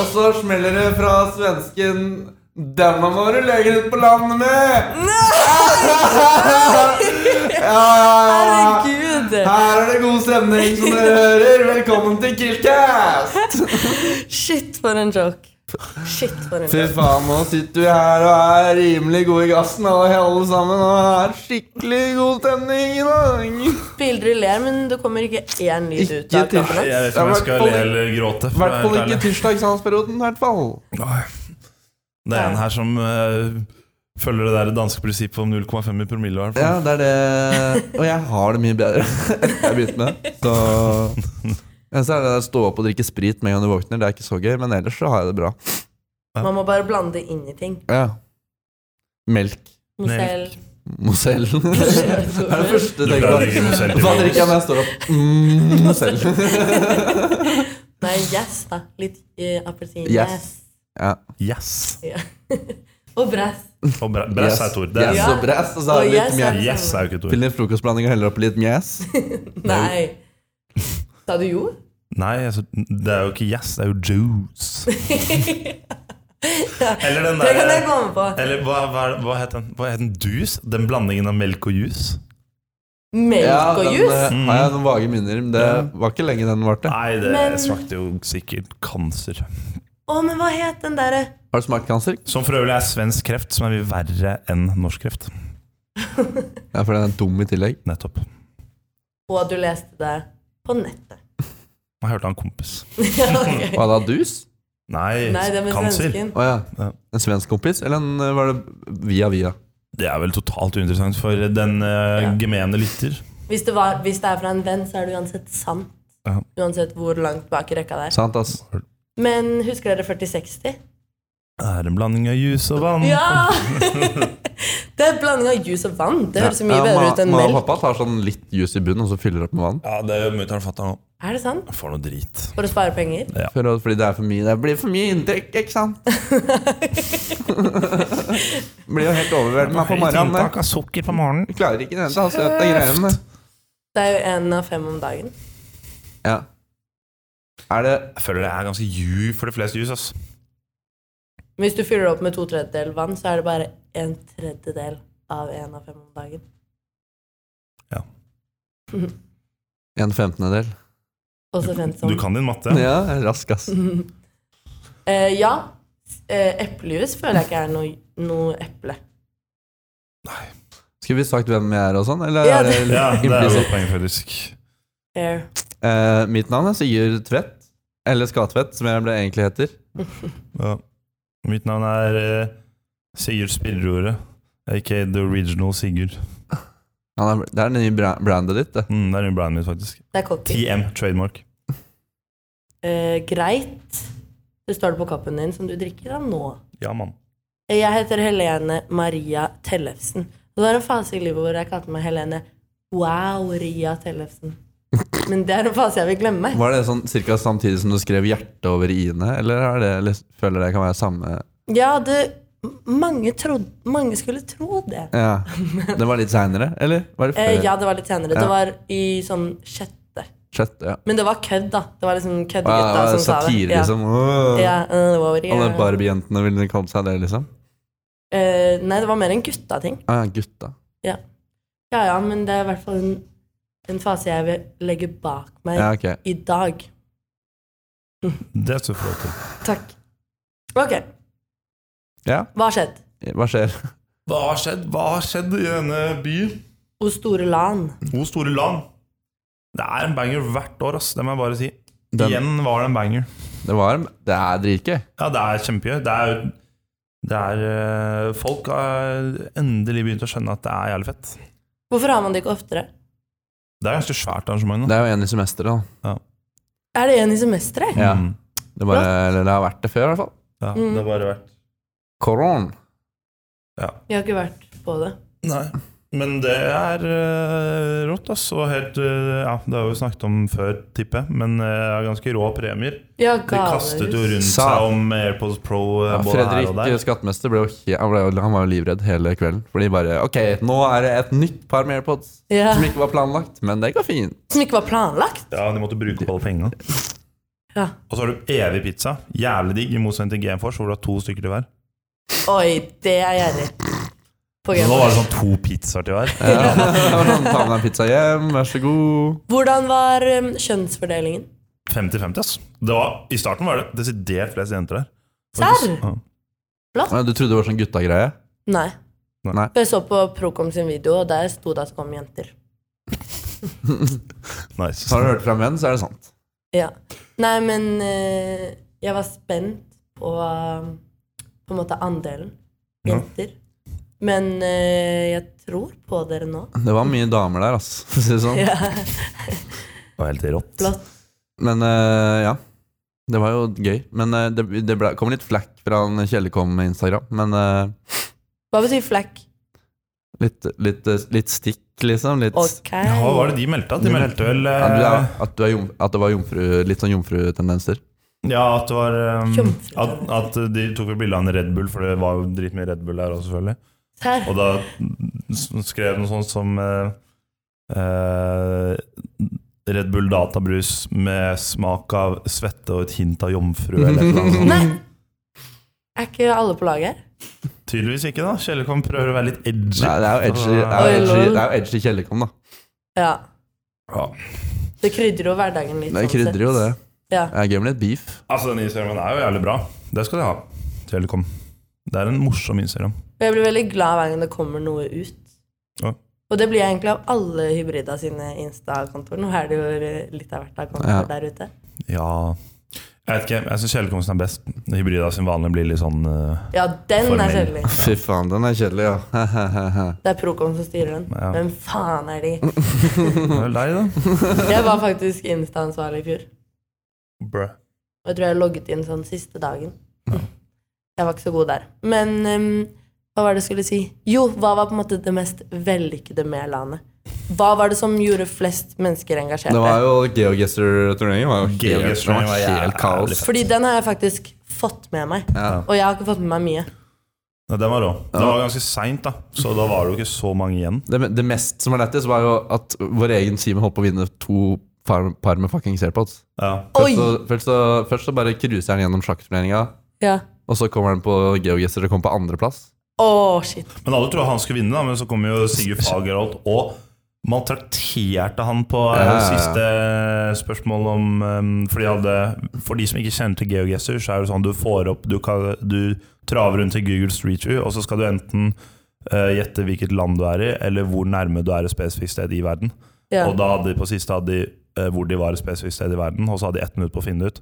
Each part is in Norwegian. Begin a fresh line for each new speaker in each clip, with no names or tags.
Og så smeller det fra svensken Denne må du legge ut på landet med! Ja, ja, ja.
Herregud!
Her er det god stemning, som dere hører. Velkommen til Killcast!
Shit, for en joke. Shit, for en
Fy
joke.
faen, nå sitter vi her og er rimelig gode i gassen, alle, alle sammen. Og er skikkelig god stemning i dag.
Bildre ler, men det kommer ikke én lyd ut
Ikke
av
til-
kroppen.
Jeg vet ikke om jeg skal le eller gråte.
I
for å
hvert
være
fall
helt
ikke
ærlig.
tirsdagsdansperioden, i hvert fall.
Nei. Det er en her som eh, følger det der danske prinsippet om 0,5 i promille. i hvert fall.
Ja, det er det. Og jeg har det mye bedre etter jeg begynte med det. Så ja, så er det å stå opp og drikke sprit med en gang du våkner. Det er ikke så gøy, men ellers så har jeg det bra.
Man må bare blande det inn i ting.
Ja. Melk.
Mosell
Mozell. Det er det første
Du
jeg
pleier å
tenker på.
drikke Moselle til
Hva
frokost.
drikker jeg når jeg står opp? Mm, Mozell.
Nei, yes, da. Litt eh, appelsin.
Yes.
Yes.
Ja.
Yes!
Ja. Og brass.
Og bra- brass er et ord. Det er,
Yes,
Ja.
og brass, og så har du
Og
litt
yes,
mjau.
ja.
Yes er jo ikke et ord.
Piller frokostblanding og heller oppi litt mjæs.
Nei. Sa du jo?
Nei, altså, det er jo ikke yes, det er jo juice. Eller den
Det kan jeg
der
komme på.
Eller hva, hva, er det- hva het den? Hva het den? Dus? Den blandingen av melk og juice?
Ja,
Melk og
den
juice?
eh, har jeg noen vage minner men Det var ikke lenge den varte.
Nei, det
Men-
smakte jo sikkert kancer.
Å, men hva het den derre
Har du smakt cancer?
Som for øvrig er svensk kreft, som er mye verre enn norsk kreft.
Ja, for den er dum i tillegg.
Nettopp.
Og du leste det på nettet.
Jeg hørte av en kompis.
Ja, ok.
Hva da, dus?
Nei,
Nei, det er med
kanser.
svensken.
Å ja.
Ja.
En svensk kompis, eller en, eh, var det via via?
Det er vel totalt uinteressant for den eh, gemene lytter.
Hvis det, var, hvis det er fra en venn, så er det uansett sant.
Ja.
Uansett hvor langt bak i rekka det er.
Sant, ass.
Men husker dere 4060?
Det er en blanding av juice og vann.
Ja! det er en blanding av juice og vann. Det høres mye
Ja,
bedre
ma-
ut enn
ma og
melk.
pappa tar sånn litt juice i bunnen, og så fyller opp med vann.
Ja, det gjør mutter'n og fatter'n òg.
Er det sant?
For noe drit.
For å spare penger?
For, å- fordi det er for mye. Det blir for mye inntrykk, ikke sant? blir jo helt overveldende på morgenen. det.
inntak av sukker på morgenen.
Klarer ikke den, ta søte altså, greiene.
Det er jo én av fem om dagen.
Ja. Er det
Jeg føler det er ganske ju for de fleste juice, ass.
Men hvis du fyller opp med to tredjedel vann, så er det bare en tredjedel av én av fem om dagen.
en femtendedel?
Også fem som
Du kan din matte.
Ja, jeg er rask, ass.
Mhm. Eh, ja. Eh, eplejus føler jeg ikke er noe, noe eple.
Skulle vi sagt hvem jeg er og sånn, eller
Ja,
er det
det-
Ja, det er jo
implisitt?
et poeng, faktisk.
Fair.
Eh, mitt navn er Sigurd Tvedt. Eller Skatvedt, som jeg ble egentlig heter.
Ja. Mitt navn er eh, Sigurd Spirrordet. Ikke The Original Sigurd.
Han er, det er det nye bra- brandet ditt, det.
Mm, det er brandet mitt, faktisk.
Det er cocky.
TM Trademark.
Eh, greit. Det står det på kappen din som du drikker av nå.
Ja, mann.
Jeg heter Helene Maria Tellefsen. Det var en fase i livet hvor jeg kalte meg Helene Wow Ria Tellefsen. Men det er en fase jeg vil glemme.
Var det sånn cirka samtidig som du skrev 'hjerte' over i-ene, eller er det, eller føler det kan være samme
Ja, det, mange, trodde, mange skulle tro det.
Ja. Det var litt seinere, eller? Var det
Eh,
før?
ja, det var litt senere.
Ja.
Det var i sånn sjette.
Sjette, ja.
Men det var kødd, da. Det var
Å, ja,
liksom
det
køddegutta
var
som sa det.
satire,
Ja.
liksom. Åh.
Ja, eh, wow, Ria.
Alle Barbie-jentene ville kalt seg det, liksom.
Eh, nei, det var mer en gutta-ting.
Å ja, gutta.
Ja ja, men det er i hvert fall en, en fase jeg vil legge bak meg
Ja, ok.
i dag.
Det står for til.
Takk. Ok,
Ja,
hva har skjedd?
hva skjer?
Hva har skjedd? Hva har skjedd i denne byen?
O store LAN.
O store land. Det er en banger hvert år, ass. Det må jeg bare si.
Den-
Igjen var det en banger.
Det var Det er dritgøy.
Ja, det er kjempegøy. Det er, jo- det er eh, Folk har endelig begynt å skjønne at det er jævlig fett.
Hvorfor har man det ikke oftere?
Det er ganske svært arrangement.
Det
Da.
er jo en i semesteret, da.
Er det en i semesteret?
Ja.
Mm.
Det, bare, eller det har vært det før, i hvert fall.
Ja,
Mm.
Det har bare vært
Koron.
Jeg har ikke vært på det.
Nei. Men det er eh, rått, ass. Og helt eh, Ja, det har vi jo snakket om før, tipper jeg, men eh, jeg har ganske rå premier.
Ja,
De kastet jo
gaver.
rundt
Sa-
seg om AirPods Pro eh,
Ja,
både her og der.
Fredrik skattemester ble jo, he- han, ble, jo- han var jo livredd hele kvelden. For de bare Ok, nå er det et nytt par med AirPods
Ja.
som ikke var planlagt, men det går fint.
Som ikke var planlagt.
Ja, de måtte bruke opp alle pengene.
Ja.
Og så har du evig pizza. Jævlig digg, i motsetning til GameForce, hvor du har to stykker til hver.
Oi, det er jeg enig i. På
Nå
Gameboy.
var det sånn to pizzaer til hver.
Ja. sånn, Ta med deg en pizza hjem, vær så god.
Hvordan var um, kjønnsfordelingen?
50-50, ass. Det var, I starten var det desidert flest jenter der.
Serr?
Ja.
Ja, Du trodde det var sånn guttagreie?
Nei.
Nei.
Jeg så på Procom sin video, og der sto det at det kom jenter.
Nice.
Har du hørt fra menn, så er det sant.
Ja. Nei, men eh, jeg var spent på um, på en måte andelen
Ja.
jenter. Men eh, jeg tror på dere nå.
Det var mye damer der, ass. for å si det sånn.
Ja,
Det var helt rått.
flott.
Men eh, ja. Det var jo gøy. Men eh, det, det ble, kom litt flakk fra han Kjellekom med Instagram. Men eh,
Hva betyr flekk?
litt, litt, eh, litt stikk, liksom. Litt
Ok.
Ja, hva var det de meldte? De meldte vel eh,
at, du er, at, du er jom, at det var jomfru, litt sånn jomfrutendenser.
Ja, at det var eh,
Kjempefint.
at, at de tok vel bilde av en Red Bull, for det var jo dritmye Red Bull der òg, selvfølgelig.
Serr?
Og da s- skrev de noe sånt som eh, eh, Red Bull databrus med smak av svette og et hint av jomfru, eller et eller annet. sånt.
Nei! Er ikke alle på laget her?
Tydeligvis ikke, da. Kjellekom prøver å være litt edgy.
Nei, det er jo edgy, det er
Oi,
jo edgy,
lol.
det er jo edgy Kjellekom, da.
Ja.
Ja.
Det krydrer jo hverdagen litt.
Det
sånn sett.
krydrer jo det.
Ja.
Det er gøy med litt beef.
Altså, den Instagrammen er jo jævlig bra. Det skal de ha. Kjellekom. Det er en morsom Instagram.
Og jeg blir veldig glad hver gang det kommer noe ut.
Ja.
Og det blir jeg egentlig av alle hybrida sine Insta-kontoer. Nå er det jo litt av hvert av kontoer
Ja.
der ute.
Ja Jeg vet ikke, jeg syns Kjellekomsten er best. Hybrida sin vanlige blir litt sånn eh,
Ja, den
Formell.
er kjedelig.
Fy faen, den er kjedelig, ja.
Det er Procom som styrer den.
Ja.
Hvem faen er de?
Det er vel deg, da.
Jeg var faktisk Insta-ansvarlig i fjor.
Brø.
Og jeg tror jeg logget inn sånn siste dagen. Jeg var ikke så god der. Men ehm, hva var det jeg skulle si? Jo, hva var på en måte det mest vellykkede med landet? Hva var det som gjorde flest mennesker engasjerte?
Det var jo GeoGuessr-turneringen. var jo helt-
Geoguessr-turneringen var
det var helt kaos.
Fordi den har jeg faktisk fått med meg.
Ja.
Og jeg har ikke fått med meg mye.
Nei, den var rå. Det var ganske seint, da, så da var det jo ikke så mange igjen.
Det, det mest som var lættis, var jo at vår egen Simen holdt på å vinne to par, par med fuckings AirPods.
Ja.
Oi!
Først så, først, så, først så bare cruiser han gjennom sjakkturneringa,
Ja.
og så kommer han på GeoGuessr og kommer på andreplass.
Å, shit.
Men alle trodde han skulle vinne, da, men så kom jo Sigurd Fagerholt og maltrakterte han på eh,
Ja.
siste spørsmål om eh, For de, hadde, for de som ikke kjenner til GeoGuessr, så er det sånn du får opp Du, kan, du traver rundt i Google Street View, og så skal du enten eh, gjette hvilket land du er i, eller hvor nærme du er et spesifikt sted i verden.
Ja.
Og da hadde de på siste hadde de, eh, hvor de var et spesifikt sted i verden, og så hadde de ett minutt på å finne det ut.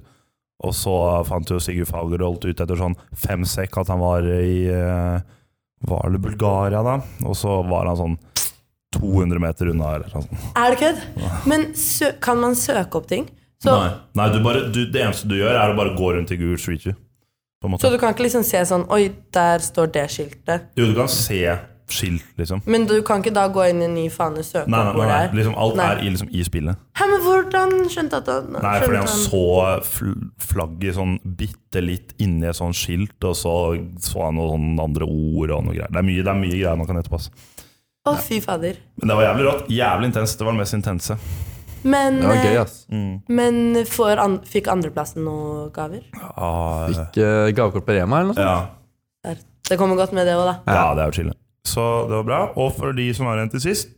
Og så fant jo Sigurd Fagerholt ut etter sånn fem sekk at han var i eh, Var det Bulgaria, da? Og så var han sånn 200 meter unna. Eller noe sånt.
Er det kødd? Men sø kan man søke opp ting? Så,
Nei, Nei du bare, du, det eneste du gjør, er å bare gå rundt i Google Street View. På en måte.
så du kan ikke liksom se sånn Oi, der står det skiltet.
Jo, du kan se skilt, liksom.
Men du kan ikke da gå inn i en ny fane og søke
Nei, nei,
opp
nei,
hvor det
nei.
er?
Liksom, alt
Nei.
er i, liksom, i spillet.
Hæ, men hvordan skjønte at han
Nei,
skjønte
fordi han så fl- flagget sånn bitte litt inni et sånt skilt, og så så han noen sånne andre ord og noe greier. Det er mye, det er mye greier man kan etterpå. ass.
Å, fy fader.
Men det var jævlig rått. Jævlig intenst. Det var det mest intense.
Men,
Det var gøy, altså.
eh,
ass.
men får an fikk andreplassen noen gaver?
Ja,
Fikk eh, gavekort på Rema, eller noe sånt.
Ah, ja.
Der. Det kommer godt med det òg, da.
ja det er jo chille. Så det var bra. Og for de som var igjen til sist,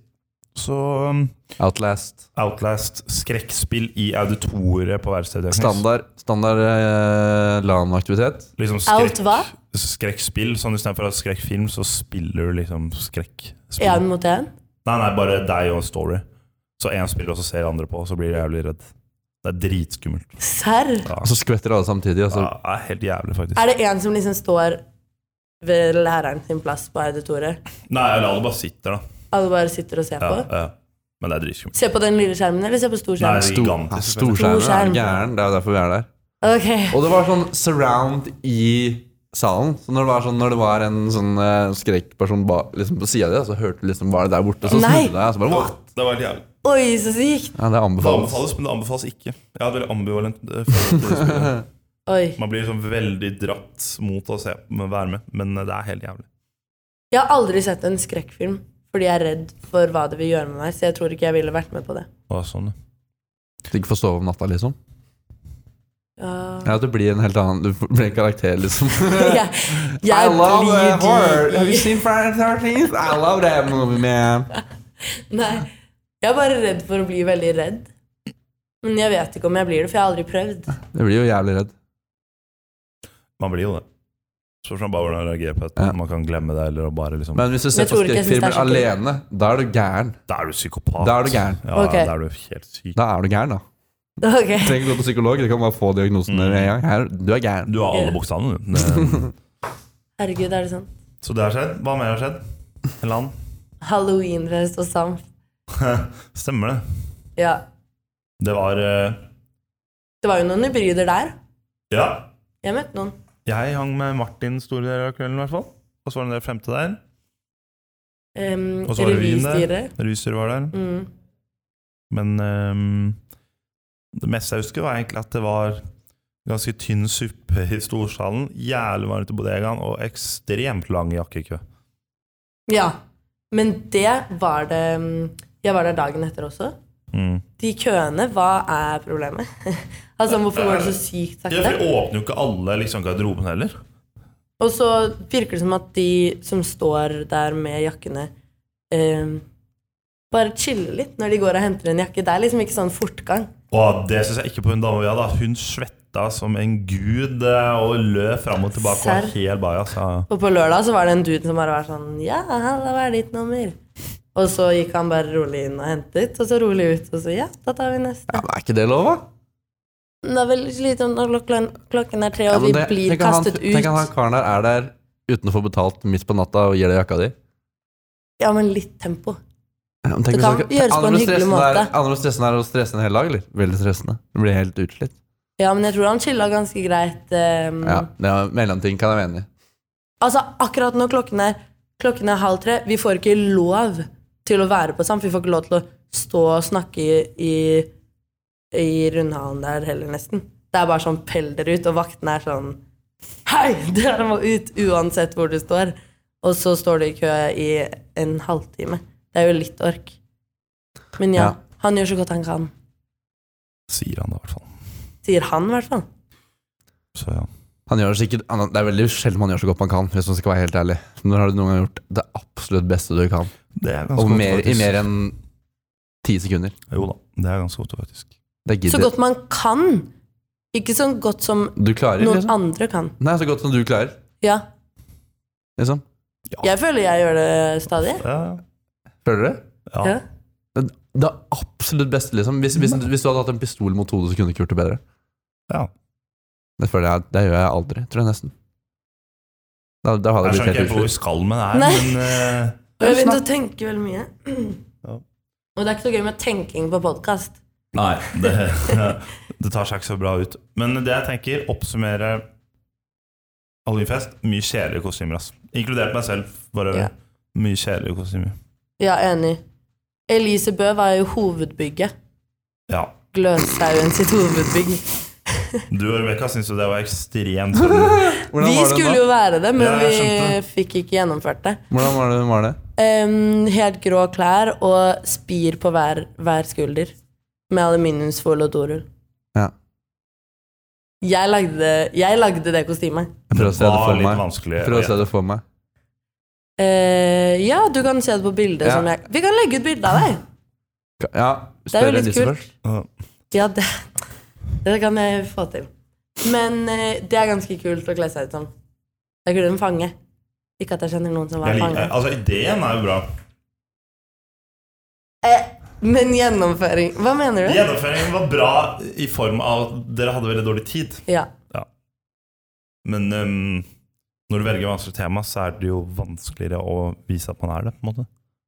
så um,
Outlast.
Outlast skrekkspill i auditoriet på verkstedet.
Standard, standard eh, LAN-aktivitet.
Liksom
Out
skrekk,
hva?
skrekkspill. Sånn istedenfor at skrekkfilm, så spiller du liksom skrekkspill.
Én mot én?
Nei, nei, bare deg og Story. Så én spiller, og så ser andre på, og så blir jeg jævlig redd. Det er dritskummelt.
Serr?
Og så skvetter alle samtidig. Og
Ja,
så,
det er helt jævlig, faktisk.
Er det en som liksom står ved læreren sin plass på auditoriet?
Nei, eller alle bare sitter, da.
Alle bare sitter og ser
Ja,
på?
ja. Men det er dritskummelt.
Se på den lille skjermen, eller se på stor
Nei,
skjerm?
Stor-
gigantisk,
ja,
selvfølgelig.
Storskjermen er
Storskjerm.
gæren. Det er jo derfor vi er der.
Ok.
Og det var sånn surround i salen. Så når det var, sånn, når det var en sånn eh, skrekkperson ba, liksom på sida di, så hørte du liksom var det der borte, så
Nei.
snudde du deg. og Så bare, «What?»
Det var helt jævlig.
Oi, så sykt!
ja, det
Det
anbefales.
anbefales, men det anbefales ikke. Jeg hadde veldig ambivalent eh, forhold til det spillet.
Oi.
Man blir sånn veldig dratt mot å se, men være med, men eh, det er helt jævlig.
Jeg har aldri sett en skrekkfilm fordi jeg er redd for hva det vil gjøre med meg. Så jeg tror ikke jeg ville vært med på det.
Å, sånn.
Du ikke får sove om natta, liksom.
Ja.
Ja, at du blir en helt annen Du blir en karakter, liksom.
Jeg, jeg blir de-
seen Friday the 13th? I love that movie, man.
Nei. Jeg er bare redd for å bli veldig redd. Men jeg vet ikke om jeg blir det, for jeg har aldri prøvd.
Jeg blir jo jævlig redd.
Man blir jo det. Spørs om bare hvordan man reagerer på det.
Ja.
Man kan glemme det, eller bare liksom
Men hvis du
Men
ser
jeg
på
tror ikke jeg synes det
skrekkfilmer
er så kult.
alene, da er du gæren.
Da er du psykopat.
Da er du gæren.
Ja,
Ok.
da er du helt syk.
Da er du gæren, da.
Ok.
Du trenger ikke gå på psykolog, du kan bare få diagnosen med en gang. Her, du er gæren.
Du har alle bokstavene, du. Det-
Herregud, er det sånn?
Så det har skjedd. Hva mer har skjedd? Eller annet?
Halloweenfest og samt.
Stemmer det.
Ja.
Det var eh,
Det var jo noen hybrider der.
Ja.
Jeg møtte noen.
Jeg hang med Martin store deler av kvelden, i hvert fall. Og så var det en del frem til der.
Um,
Og så var det revyen der.
revystyret.
Ruser var der.
Mm.
Men ehm, det meste jeg husker, var egentlig at det var ganske tynn suppe i storsalen, jævlig varmt i bodegaen og ekstremt lang jakkekø.
Ja. Men det var det um, Jeg var der dagen etter også.
Mm.
De køene, hva er problemet? altså, hvorfor går det så sykt
Ja, for
sakte?
de åpner jo ikke alle liksom garderoben heller.
Og så virker det som at de som står der med jakkene, um, bare chiller litt når de går og henter en jakke. Det er liksom ikke sånn fortgang.
Og det syns jeg ikke på hun dama vi hadde. da. Hun svetta som en gud eh, og løp fram og tilbake. Og var
Serr?
helt bajas. ja.
Og på lørdag så var det en dude som bare var sånn Ja, halla, hva er ditt nummer? Og så gikk han bare rolig inn og hentet, og så rolig ut, og så ja, da tar vi neste.
Ja, men er ikke det lov, da?
Det er veldig slitsomt når klokken, klokken er tre,
Ja,
og
men
vi
det-
blir
tenk at han-
kastet
Tenk at
ut.
han karen der er der uten å få betalt midt på natta og gir deg jakka di.
Ja, men litt tempo.
Ja, men tenk
Det
hvis
kan
dere-
gjøres på
Andre
en
blir
hyggelig
stressende der-
måte.
Andre blir stressende her og stressende hele dag, eller? Veldig stressende. Du blir helt utslitt.
Ja, men jeg tror han chilla ganske greit. ehm.
Ja, ja Mellomting kan jeg være enig i.
Altså, akkurat når klokken er, klokken er halv tre, vi får ikke lov til å være på Samf. Vi får ikke lov til å stå og snakke i, i, i rundhallen der heller, nesten. Det er bare sånn pell dere ut, og vaktene er sånn Hei, dere må ut! Uansett hvor du står. Og så står du i kø i en halvtime. Det er jo litt ork. Men ja,
Ja.
han gjør så godt han kan.
Sier han det, i hvert fall.
Sier han, i hvert fall.
Så ja.
Han gjør sikkert, han, det er veldig sjelden man gjør så godt man kan, hvis man skal være helt ærlig. Men har du noen gang gjort det absolutt beste du kan,
Det er ganske
og
godt,
mer, i
faktisk.
mer enn ti sekunder?
Jo da, det er ganske godt, faktisk.
Det
Så
gidder
godt man kan. Ikke så godt som
du klarer,
noen
liksom.
andre kan.
Nei, så godt som du klarer,
Ja.
liksom.
Jeg føler jeg gjør det stadig.
Ja,
Føler du det?
ja.
Ja.
Det, det er absolutt beste, liksom. Hvis, hvis,
Mm.
hvis du hadde hatt en pistol mot hodet, så kunne du ikke gjort det bedre.
Ja.
Det føler jeg, det gjør jeg aldri, tror jeg nesten. Da, da hadde
Jeg
jeg blitt
skjønner
helt
ikke helt hvor vi
utslitt.
skal med det her,
Nei.
men eh,
Og jeg begynte å tenke veldig mye.
Ja.
Og det er ikke så gøy med tenking på podkast.
Nei, det, det tar seg ikke så bra ut. Men det jeg tenker, oppsummere Halloweenfest. Mye kjedelige kostymer, ass. Inkludert meg selv. Bare
Ja.
mye kjedelige kostymer.
Ja, enig. Elise Bø var jo hovedbygget.
Ja.
Gløshaugen sitt hovedbygg.
Du og Rebekka syntes jo det var ekstremt sånn- spennende.
Hvordan var
Vi
det
skulle
nå?
jo være det, men
Ja, jeg
vi
skjønte.
fikk ikke gjennomført det.
Hvordan var det? Var det?
Em, helt grå klær og spir på hver, hver skulder. Med aluminiumsfolie og dorull.
Ja.
Jeg lagde, jeg lagde det kostymet.
Jeg prøver å se det
var
for
litt
meg.
vanskelig.
Jeg Prøver å se det for meg.
Eh, ja, du kan se det på bildet.
Ja.
Som jeg, vi kan legge ut bilde av deg!
Ja,
Det er
spør
jo litt
Elise
kult.
først.
Ja.
Ja, det, det kan jeg få til. Men eh, det er ganske kult å kle seg ut som. Jeg kunne en fange. Ikke at jeg kjenner noen som var
Jeg
fange.
liker, altså, ideen er jo bra.
Eh, men gjennomføring Hva mener du?
Gjennomføringen var bra i form av at dere hadde veldig dårlig tid.
Ja.
Men ehm, når du velger vanskelig tema, så er det jo vanskeligere å vise at man er det. på en måte.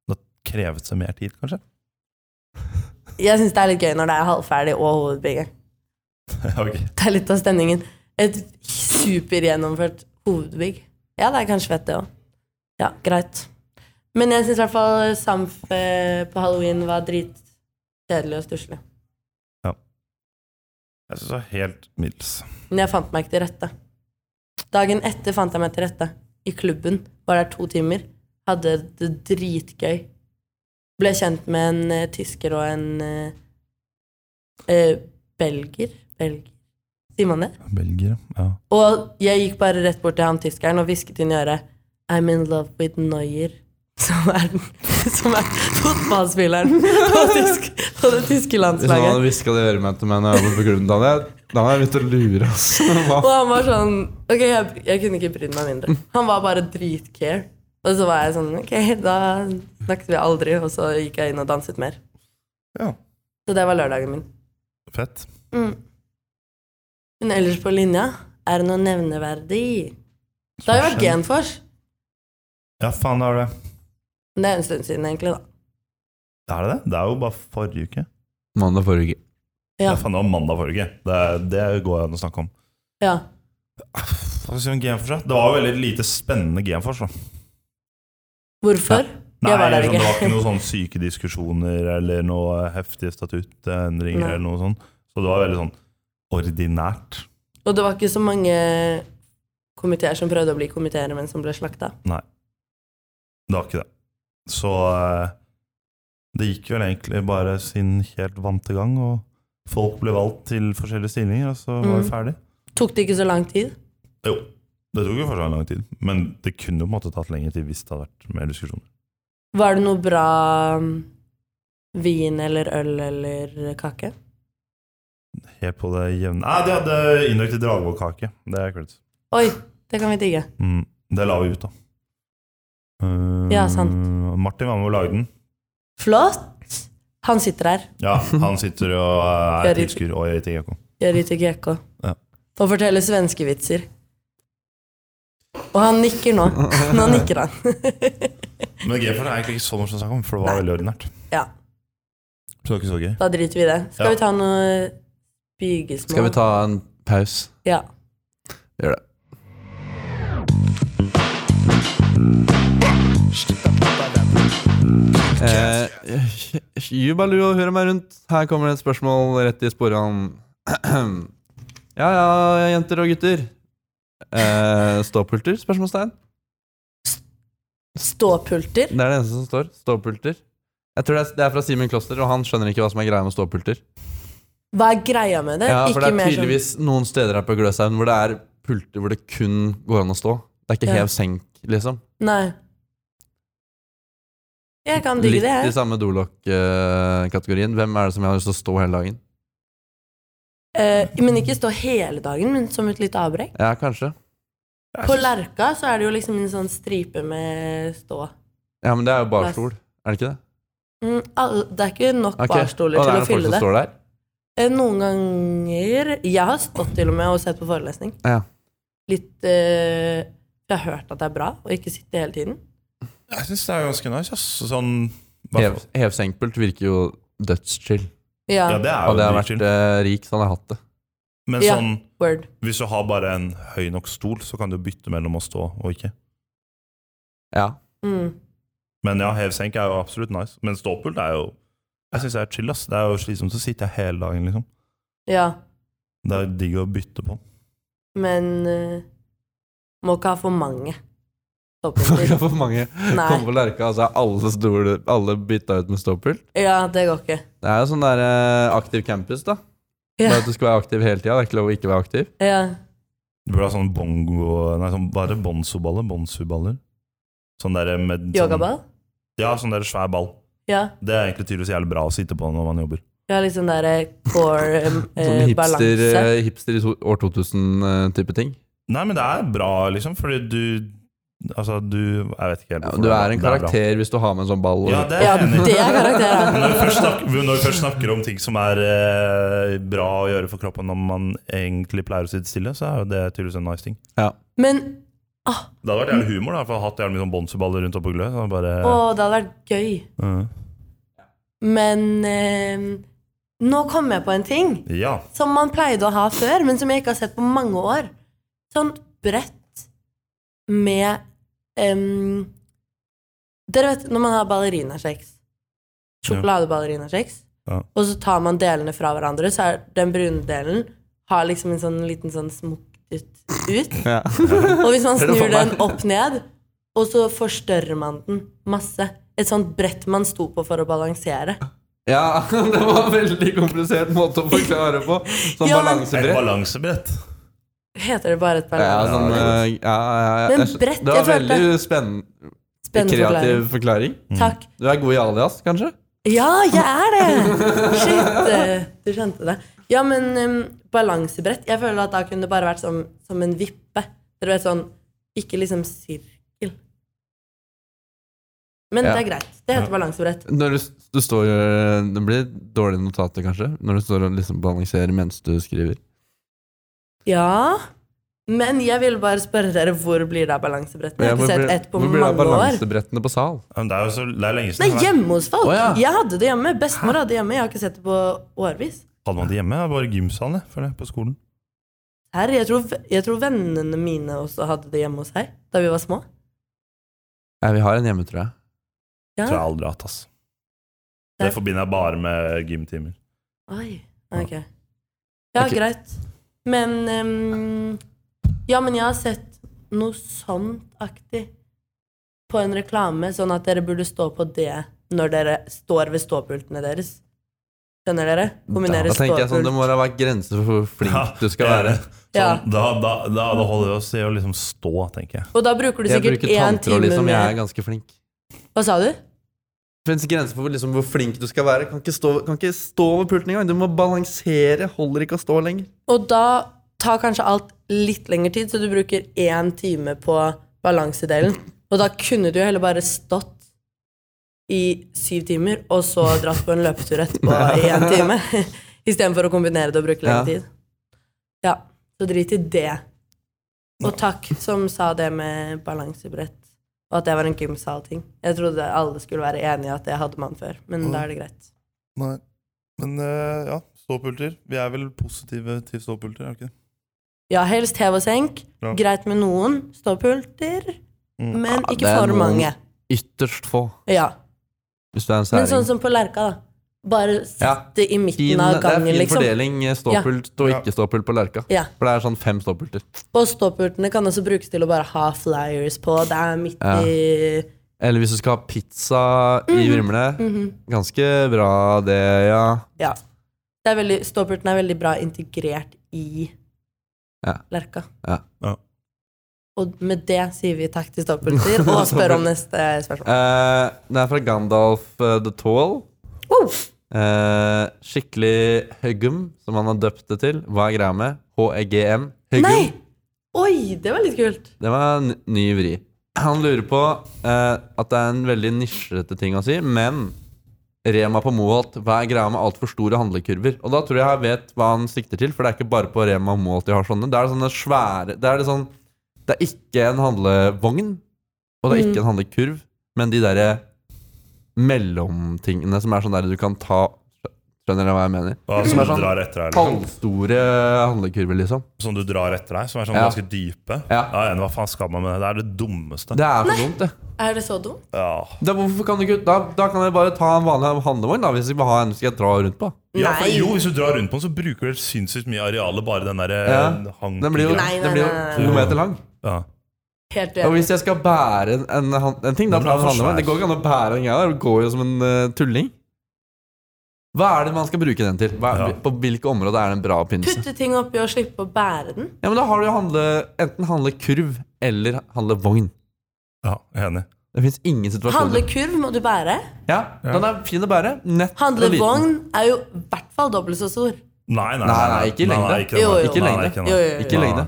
Det har krevet seg mer tid, kanskje.
Jeg syns det er litt gøy når det er halvferdig og hovedbygget.
Ok.
Det er litt av stemningen. Et supergjennomført Hovedbygg. Ja, det er kanskje fett, det òg. Ja, greit. Men jeg syns i hvert fall Samf eh, på halloween var dritkjedelig og stusslig.
Jeg syns det var helt middels.
Men jeg fant meg ikke til rette. Dagen etter fant jeg meg til rette. I klubben. Var der to timer. Hadde det dritgøy. Ble kjent med en eh, tysker og en eh, eh, belger. Belger. Sier man det?
Belgiere. Ja.
Og jeg gikk bare rett bort til han tyskeren og hvisket inn i øret I'm in love with Neuer. Som er, som er fotballspilleren på, tysk, på det tyske
Hvis noen hadde
landslaget.
hviska det i øret mitt til meg når jeg var på klubben, da hadde jeg- da hadde jeg begynt å lure, ass.
Og
Hva?
han var sånn Ok, jeg, jeg kunne ikke brydd meg mindre. Han var bare dritcare. Og så var jeg sånn Ok, da snakket vi aldri. Og så gikk jeg inn og danset mer.
ja.
Så det var lørdagen min.
Fett.
Mm. Men ellers på linja, er det noe nevneverdig? Det har jo vært Genfors.
Ja, faen, det er det.
Men det er en stund siden, egentlig, da.
Er det det? Det er jo bare forrige uke.
Mandag forrige uke.
Ja,
Ja.
faen, det var mandag forrige uke. Det, det går jo an å snakke om.
Ja.
Hva skal vi si om Genfors, da? Det var jo veldig lite spennende Genfors. da.
Hvorfor?
Nei,
Jeg var der
sånn,
ikke.
det var ikke noen sånn syke diskusjoner eller noe heftige statuttendringer
Nei.
eller noe sånt. Så det var veldig sånn ordinært.
Og det var ikke så mange komiteer som prøvde å bli komiteer, men som ble slakta.
Det var ikke det. Så eh, det gikk vel egentlig bare sin helt vante gang, og folk ble valgt til forskjellige stillinger, og så var vi
Mm.
ferdig.
Tok det ikke så lang tid?
Jo, det tok jo fortsatt lang tid, men det kunne jo på en måte tatt lengre tid hvis det hadde vært mer diskusjoner.
Var det noe bra mm, vin eller øl eller kake?
Helt på det jevne Nei, de hadde innrøkt i dragvollkake. Det er kult.
Oi, det kan vi digge.
Mm. Det la vi ut, da. Eh,
Ja, sant.
Martin var med å lage den.
Flott! Han sitter her.
Ja, han sitter og eh, er
Gjør i-
tilskuer og gjør ikke ekko.
Gjør ikke GK.
Ja.
Og forteller svenskevitser. Og han nikker nå. Nå nikker han.
Men G4 er egentlig ikke så morsomt å snakke om, for det var
Nei.
veldig ordinært.
Ja.
Så det var ikke så gøy.
Da driter vi i det. Skal
Ja.
vi ta noe bygesmål?
Skal vi ta en pause?
Ja.
Gjør det. Eh, Jubalu og hører meg rundt. Her kommer det et spørsmål rett i sporene. Ja ja, jenter og gutter. Eh, ståpulter? Spørsmålstegn.
Ståpulter?
Det er det eneste som står. Ståpulter. Jeg tror det er- det er fra Simen Kloster, og han skjønner ikke hva som er greia med ståpulter.
Hva er greia med det?
Ja, for det
Ikke
er
mer sånn-
tydeligvis noen steder her på Gløshaugen hvor det er pulter hvor det kun går an å stå. Det er ikke
Ja.
hev senk, liksom.
sånn- Nei. Jeg kan digge
Litt
det,
i
jeg.
samme dolokk-kategorien. Hvem er det som jeg har lyst til å stå hele dagen?
Eh, men ikke stå hele dagen, men som et lite avbrekk.
Ja, kanskje.
På Lerka så er det jo liksom en sånn stripe med stå.
Ja, men det er jo
Plass.
barstol, er det ikke det?
Mm, alle, det er ikke nok
Ok.
barstoler
Og det er
til å
noen folk
fylle
som
det.
står der?
Eh, noen ganger Jeg har stått til og med og sett på forelesning.
Ja.
Litt eh, Jeg har hørt at det er bra å ikke sitte hele tiden.
Jeg syns det er ganske nice, ass. Sånn
Hev, hevsenkpult virker jo dødschill.
Ja.
Ja, det er jo
Hadde jeg vært
dritchill.
eh, rik, så hadde jeg hatt det.
Men
Ja.
sånn,
Word.
hvis du har bare en høy nok stol, så kan du bytte mellom å stå og ikke.
Ja.
Mm.
Men ja, hev-senk er jo absolutt nice. Men ståpult er jo Jeg syns det er chill, ass. Det er jo slitsomt å sitte hele dagen, liksom.
Ja.
Det er digg å bytte på.
Men eh, må ikke ha for mange
Det
ståpulter.
var for mange
Nei.
kom på lerka, og så er alle, store, alle bytta ut med ståpult.
Ja, det går ikke.
Det er jo sånn der eh, aktiv campus, da.
Ja.
Bare at du skal være aktiv hele tida. Det er ikke lov å ikke være aktiv.
Ja.
Du burde ha sånn bongo Nei, sånn, hva er det? Bonzo-baller? Bonsu-baller? Sånn derre med
Yogaball?
Sånn, ja, sånn derre svær ball.
Ja.
Det er egentlig tydeligvis jævlig bra å sitte på når man jobber.
Ja, litt sånn der eh, core eh,
Sånn
eh,
hipster,
balanse.
eh, hipster i to- år 2000-type ting.
Nei, men det er bra, liksom, fordi du Altså, du Jeg vet ikke helt
Ja,
hvorfor
du
det bra.
er en
Det bra.
karakter hvis du har med en sånn ball. og-
Ja, det er
Ja,
jeg enig i.
det er
Men
karakteren.
Når vi, først snakker, når vi først snakker om ting som er eh, bra å gjøre for kroppen når man egentlig pleier å sitte stille, så er jo det tydeligvis en nice ting.
Men ah,
Det hadde vært
Mm.
jævlig humor, da, for jeg har hatt jævlig mye sånn bonseballer rundt oppe på glø. Så bare,
å, det hadde vært gøy.
Mm.
Men eh, nå kom jeg på en ting
ja.
som man pleide å ha før, men som jeg ikke har sett på mange år. Sånt Sånn brett med em, Dere vet når man har ballerinakjeks. Sjokoladeballerinakjeks.
Ja.
Og så tar man delene fra hverandre, så er den brune delen har liksom en sånn liten sånn smukket ut.
Ja.
Og hvis man
Ser du for
snur
meg?
den opp ned, og så forstørrer man den masse. Et sånt brett man sto på for å balansere.
ja, det var en veldig komplisert måte å forklare på. Sånn
Ja, men-
Et
balansebrett.
balansebrett.
Heter det bare et
Ja,
balansebrett?
sånn, eh, ja, ja, ja.
Men
Jeg skjø-
brett,
Det var
jeg følte-
veldig spennende,
Spennende
kreativ
forklaring.
forklaring.
Takk.
Du er god i alias, kanskje?
Ja, jeg er det! Shit, eh, du skjønte det. Ja, men em, balansebrett Jeg føler at da kunne det bare vært som, som en vippe. Dere vet sånn Ikke liksom sirkel. Men
Ja.
det er greit. Det heter
Ja.
balansebrett.
Når du, s- du står, eh, det blir dårlige notater, kanskje, når du står og liksom balanserer mens du skriver.
Ja. Men jeg ville bare spørre dere, hvor blir det av balansebrettet? Jeg har
hvor
ikke
blir-
sett ett på
hvor blir det av
mange år.
balansebrettene på sal?
Men Det er jo så, det er lenge
Det
siden.
er hjemme hos folk.
Å, ja.
Jeg hadde det hjemme. Bestemor hadde det hjemme. Jeg har ikke sett det på årevis.
Hadde man det hjemme? Det var Bare gymsalen, jeg, føler jeg, på skolen.
Her, jeg, tror, jeg tror vennene mine også hadde det hjemme hos seg da vi var små.
Ja, vi har en hjemme, tror jeg.
Ja.
Tror jeg aldri har hatt, ass. Det
Der.
forbinder jeg bare med gymtimer.
Oi. Ok. Ja,
Ok.
greit. Men ehm, Ja, men jeg har sett noe sånt aktig på en reklame, sånn at dere burde stå på det når dere står ved ståpultene deres. Skjønner dere? Kombinere
da tenker jeg sånn, Det
ståpult.
må sånn- da være grenser for hvor flink
Ja,
du skal
ja.
være.
Ja.
Sånn, Da, da, da, da holder det oss i å liksom stå, tenker jeg.
Og da bruker du
Jeg
sikkert
bruker
én
tanntråd,
time
liksom. Jeg er
mer.
ganske flink.
Hva sa du?
Det finnes grenser for liksom, hvor flink du skal være. Kan ikke stå, kan ikke stå ved pulten engang. Du må balansere. Holder ikke å stå lenger.
Og da tar kanskje alt litt lengre tid, så du bruker én time på balansedelen. Og da kunne du jo heller bare stått i syv timer, og så dratt på en løpetur etterpå i én time. Istedenfor å kombinere det og bruke
Ja.
lengre tid. Ja, så drit i det. Og takk som sa det med balansebrett, og at det var en gymsal-ting. Jeg trodde alle skulle være enige i at det hadde man før, men da er det greit.
Nei. Men eh, ja, ståpulter. Vi er vel positive til ståpulter, er vi ikke det?
Ja, helst hev og senk.
Ja.
Greit med noen ståpulter,
Mm.
men
Ja, det
ikke
er
for
noen-
mange.
Ytterst få,
Ja.
hvis du er en
Men
særing.
sånn som på Lerka, da. Bare
Ja.
sitte i midten
fin,
av
det er
gangen,
fin
liksom.
fordeling eh, ståpult og
Ja.
ikke ståpult på Lerka.
Ja.
For det er sånn fem ståpulter.
Og ståpultene kan også brukes til å bare ha flyers på. Det er midt
Ja.
i
Eller hvis du skal ha pizza i Vrimle.
Mhm.
Ganske bra, det, ja.
Ja. Det er veldig, ståpulten er veldig bra integrert i
Ja.
Lerka.
Ja.
Ja.
Og med det sier vi takk til ståpulter, og spør om neste spørsmål.
Eh, det er fra Gandalf eh, the Tall.
Oh!
Eh, skikkelig høggum, som han har døpt det til. Hva er greia med? HEGM. Høggum.
Nei! Oi, det var litt kult.
Det var en ny vri. Han lurer på eh, at det er en veldig nisjete ting å si, men Rema på Moholt, hva er greia med altfor store handlekurver? Og da tror jeg jeg vet hva han sikter til, for det er ikke bare på Rema og Moholt de har sånne. Det er sånne svære Det er det sånn Det er ikke en handlevogn, og det er ikke en handlekurv, men de derre mellomtingene som er sånn der du kan ta Skjønner dere hva jeg mener?
Hva,
Som
som
er
du
sånn
drar etter deg, liksom.
Halvstore handlekurver, liksom.
Som du drar etter deg, som er sånn
Ja.
ganske dype.
Ja.
Ja, enig, hva faen skal man med det? Det er det dummeste.
Det er for dumt, det.
Er det så dumt?
Ja.
Da, hvorfor kan du ikke, da, da kan jeg bare ta en vanlig handlevogn, da, hvis jeg vil ha en skal jeg dra rundt på.
Ja,
Nei.
for, jo, hvis du drar rundt på den, så bruker du sinnssykt mye areale bare den derre
Ja.
eh, hang...
Den blir jo,
Nei, nei,
den blir jo
nei, nei,
nei.
to meter lang.
Ja.
Helt
Og
uenig.
hvis jeg skal bære en, en, han- en ting, da
Men
tar jeg en
den er for
handlevogn.
svær.
Det går ikke an å bære en greie der. Du går jo som en eh, tulling. Hva er det man skal bruke den til? Hva,
Ja.
På hvilke områder er det en bra oppfinnelse?
Putte ting oppi og slippe å bære den.
Ja, men da har du jo handle, enten handle kurv eller handle vogn.
ja, enig.
Det fins ingen situasjoner.
Handlekurv må du bære.
Ja, Den er fin å bære. Nett og liten.
Handlevogn er jo i hvert fall dobbelt så stor.
Nei,
Nei,
nei,
nei, ikke i
Nei, nei,
lengde.
ikke den
Jo,
der.
jo.
Ikke i
Nei,
lengde.
nei, ikke den
Jo,
der.
jo, jo.
Ikke i lengde.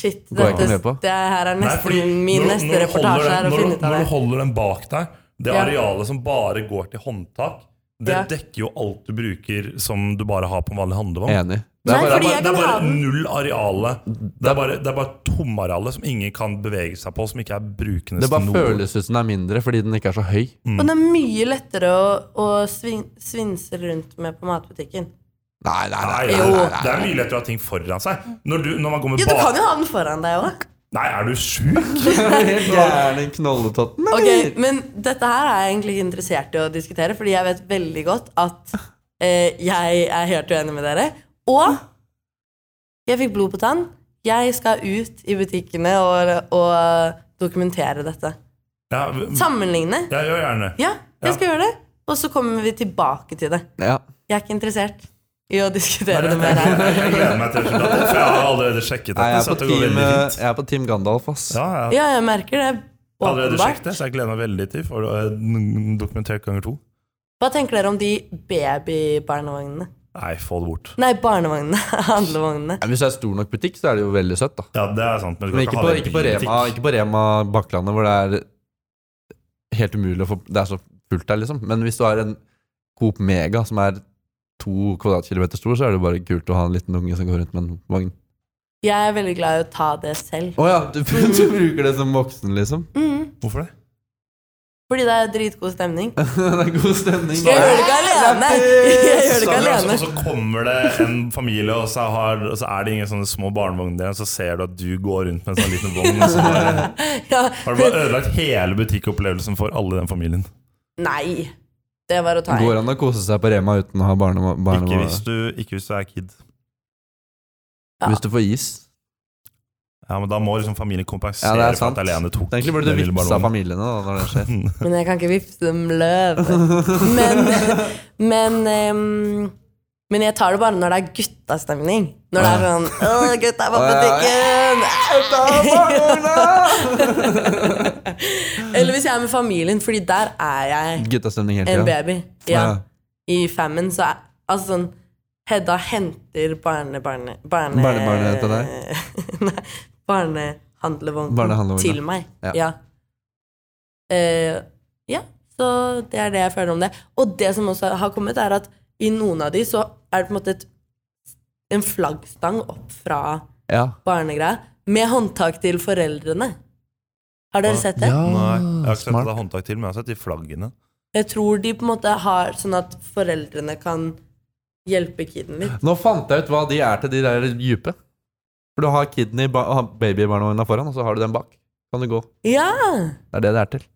Shit,
Går jeg ikke
dette,
med på?
det her er
Nei,
nesten
fordi
min
når-
neste
når du holder
reportasje
den-
er å
når du-
finne ut av
Når du
det.
holder den bak deg, det
Ja.
arealet som bare går til håndtak, det
Ja.
dekker jo alt du bruker som du bare har på en vanlig handlevogn.
Enig. Det
Nei,
er bare,
Det er
fordi
bare,
jeg
det
kan
er
ha
bare
den.
null areale. Det er bare, det er bare tomareale som ingen kan bevege seg på, som ikke er brukende
det bare
til noe.
føles ut som den er mindre fordi den ikke er så høy.
Og det er mye lettere å, å svin, svinse rundt med på matbutikken.
Nei, nei,
Nei,
nei.
det
Jo.
er- det er mye lettere å ha ting foran seg. Når, du, når man går med
Ja, du
bak-
kan jo ha den foran deg òg.
Nei, er du sjuk?
Helt gæren knolletotten, eller?
Ok, Men dette her er jeg egentlig ikke interessert i å diskutere, fordi jeg vet veldig godt at eh, jeg er helt uenig med dere. Og jeg fikk blod på tann. Jeg skal ut i butikkene og, og dokumentere dette.
Ja, v-
Sammenligne.
jeg gjør gjerne det.
Ja, jeg skal gjøre det. Og så kommer vi tilbake til det.
Ja.
Jeg er ikke interessert i å diskutere det
Jeg
mer her.
jeg gleder meg til resultatet, for jeg har allerede sjekket dette.
Nei, jeg, er
så
på
dette går
team,
veldig
eh,
fint.
jeg er på Team Gandalf, ass.
Ja, ja.
Ja, jeg merker det.
Jeg har Allerede
Åpenbart.
sjekket det, så jeg gleder meg veldig til for eh, n- dokumentert ganger to.
Hva tenker dere om de babybarnevognene?
Nei, få det bort.
Nei, barnevognene. Handlevognene.
Ja, Hvis det er stor nok butikk, så er det jo veldig søtt, da.
Ja, det er sant. Men, du
Men
kan
ikke på,
ha det i
ikke på,
bilbutikk.
Rema, ikke på Rema Bakklandet, hvor det er helt umulig å få Det er så fullt der, liksom. Men hvis du har en Coop Mega som er to kvadratkilometer stor, så er det jo bare kult å ha en liten unge som går rundt med en vogn.
Jeg er veldig glad i å ta det selv.
Å ja, du, du bruker det som voksen, liksom?
Mm.
Hvorfor det?
Fordi det er dritgod stemning.
det er god stemning.
Jeg gjør det ikke
Sånn,
alene! Jeg gjør det ikke
Samme, altså,
alene.
Og så kommer det en familie, og så, har, og så er det ingen sånne små barnevogner igjen. Så ser du at du går rundt med en sånn liten vogn. og Så bare,
Ja.
har du bare ødelagt hele butikkopplevelsen for alle i den familien.
Nei. Det var å ta i.
Går an å kose seg på Rema uten å ha barne... barne
Ikke hvis, du, ikke hvis du er kid.
Ja.
Hvis du får is.
Ja, men Da må liksom familien kompensere
Ja, det er
for
sant.
at Alene tok
Egentlig burde du
den lille
vipse av
barnevognen.
familiene da, når det skjer.
Men jeg kan ikke vifte dem løv. Men, men, ehm, men jeg tar det bare når det er guttastemning. Når det er sånn 'Å, gutta er på
Å, ja.
butikken!' Eller hvis jeg er med familien, Fordi der er jeg
Guttastemning hele
en
tida.
baby.
Ja.
Ja. I Famine så er Altså sånn Hedda henter barnebarnet barne,
Barnebarnet til
Nei. Barnehandlevognen
Barnehandlevognen.
til meg.
Ja.
Ja. Ja. Eh, ja, så det er det jeg føler om det. Og det som også har kommet, er at i noen av de så er det på en måte et, en flaggstang opp fra
Ja.
barnegreia med håndtak til foreldrene. Har dere sett det?
Nei, jeg har ikke sett at
smart.
det er håndtak til, men jeg har sett de flaggene.
Jeg tror de på en måte har sånn at foreldrene kan hjelpe kiden litt.
Nå fant jeg ut hva de er til de der dype. For du har kiden i ba har babybarnevogna foran, og så har du den bak. Kan du gå.
Ja!
Det er det det er til. Det er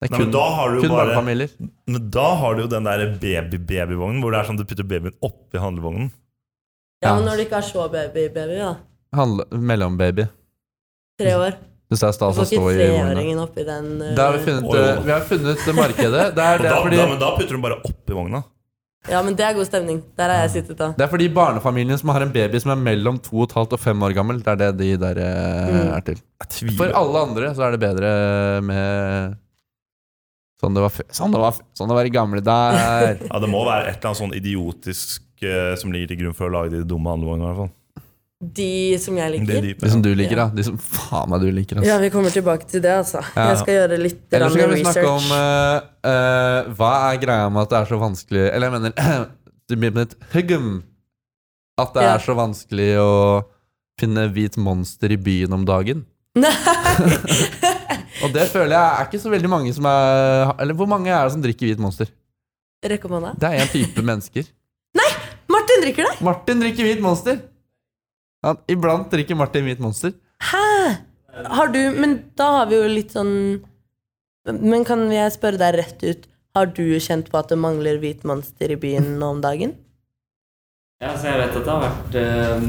Nei, men
kun,
da har du jo
kun
bare-
barnefamilier.
Men da har du jo den der baby-babyvognen, hvor det er sånn du putter babyen oppi handlevognen.
ja
Ja.
men når de ikke har så baby, baby da.
Handle- Mellombaby.
Tre år.
Syns det er
Da
stas å
får
Altså, stå
ikke
i vogna.
treåringen oppi den uh,
Da har vi funnet,
Oi.
eh, vi har funnet det markedet. Det er,
Og
det,
da,
er fordi,
da, men da putter hun bare oppi vogna.
Ja, men det er god stemning. Der har jeg sittet da.
det er fordi barnefamilien som har en baby som er mellom 2,5 og 5 år gammel, det er det de der eh,
Mm.
er til.
Jeg
For
tviler.
alle andre så er det bedre med Sånn det var før. Sånn det var, før- sånn det var i gamle der.
Ja, det må være et eller annet sånn idiotisk eh, som ligger til grunn for å lage de dumme handlevognene. i hvert fall.
De som jeg
Det er
liker.
dype,
De som
ja.
Liksom du liker, da. De som faen meg du liker. ass.
Ja, vi kommer tilbake til det, altså.
Ja.
Jeg skal gjøre litt
Eller så
grann
kan vi snakke
research.
om eh, eh, hva er greia med at det er så vanskelig Eller jeg mener det blir med et huggum. At det
Ja.
er så vanskelig å finne hvit monster i byen om dagen. Og det føler jeg er ikke så veldig mange som er Eller hvor mange er det som drikker hvit monster? eh,
Rekk opp hånda.
Det er én type mennesker.
Martin drikker det!
Martin drikker hvit monster. Han, iblant drikker Martin hvit monster.
Har du Men da har vi jo litt sånn Men kan jeg spørre deg rett ut? Har du kjent på at det mangler hvit monster i byen nå om dagen?
Ja, så jeg vet at det har vært eh,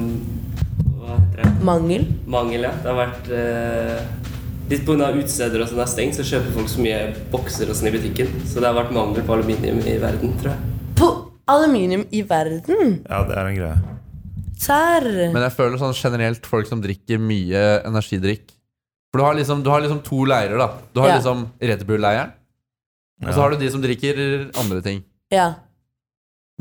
Hva heter det?
Mangel?
Mangel, ja. Det har vært eh, Litt pga. utesteder og sånn er stengt, så kjøper folk så mye bokser og sånn i butikken. Så det har vært mangel på aluminium i verden, tror jeg.
På aluminium i verden?
ja, det er en greie.
Serr?
Men jeg føler sånn generelt folk som drikker mye energidrikk For du har liksom, du har liksom to leirer, da. Du har
Ja.
liksom Red Bull-leiren, og så har du de som drikker andre ting.
Ja.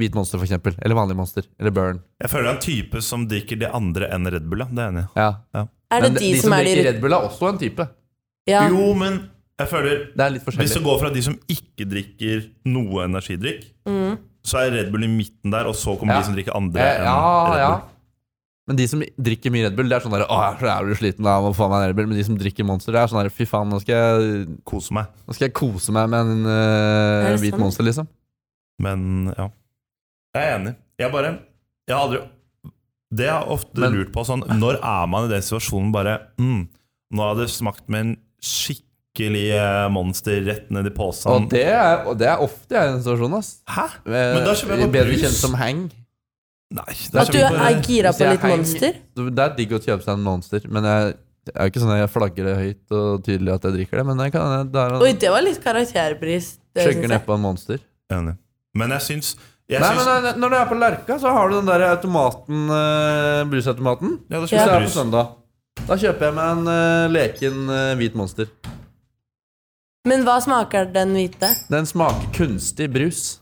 Hvit monster, for eksempel. Eller vanlig monster. Eller burn.
Jeg føler det er en type som drikker de andre enn Red Bull, ja. Det er jeg enig i.
Ja.
Er det
Men
de, som, er de
drikker Red Bull, er også en type.
Ja.
Jo, men jeg føler
Det er litt
Hvis
forskjellig.
du går fra de som ikke drikker noe energidrikk,
Mm.
så er Red Bull i midten der, og så kommer
Ja.
de som drikker
Eh,
andre enn
ja,
Red
ja.
Bull.
Men de som drikker mye Red Bull, det er sånn der, Å, jeg er så jævlig sliten av å få meg en Red Bull. Men de som drikker Monster, det er sånn der, fy faen, nå skal jeg,
Kose meg.
nå skal jeg kose meg med en eh,
Er det
hvit
sant?
Monster, liksom.
Men ja. Jeg er enig. Jeg bare Jeg har aldri Det jeg har ofte
Men-
lurt på sånn Når er man i den situasjonen bare mm, Nå hadde det smakt med en skikkelig eh, monster rett ned i
Og
posen.
det er, og det er ofte jeg er i en situasjon, ass.
Hæ?
Men
da kjøper jeg bare
Bedre
brus.
kjent som hang.
Nei, det
At du
ikke bare-
er gira
Hvis
på
jeg
litt
hang-
monster?
Så Det er digg å kjøpe seg en monster, men jeg, det er jo ikke sånn at jeg flagger det høyt og tydelig at jeg drikker det, men jeg kan jeg, det er å
Oi, det var litt karakterbris. Det
sjekke
synes
ned
jeg.
på en monster.
Enig. Men jeg syns jeg
Nei,
syns-
men nei, når du er på Lerka, så har du den der automaten, eh, brusautomaten.
Ja, da
Hvis
kjøper
jeg er
jeg
på sånn.
brus.
søndag. Da kjøper jeg meg en eh, leken eh, hvit monster.
Men hva smaker den hvite?
Den smaker kunstig brus.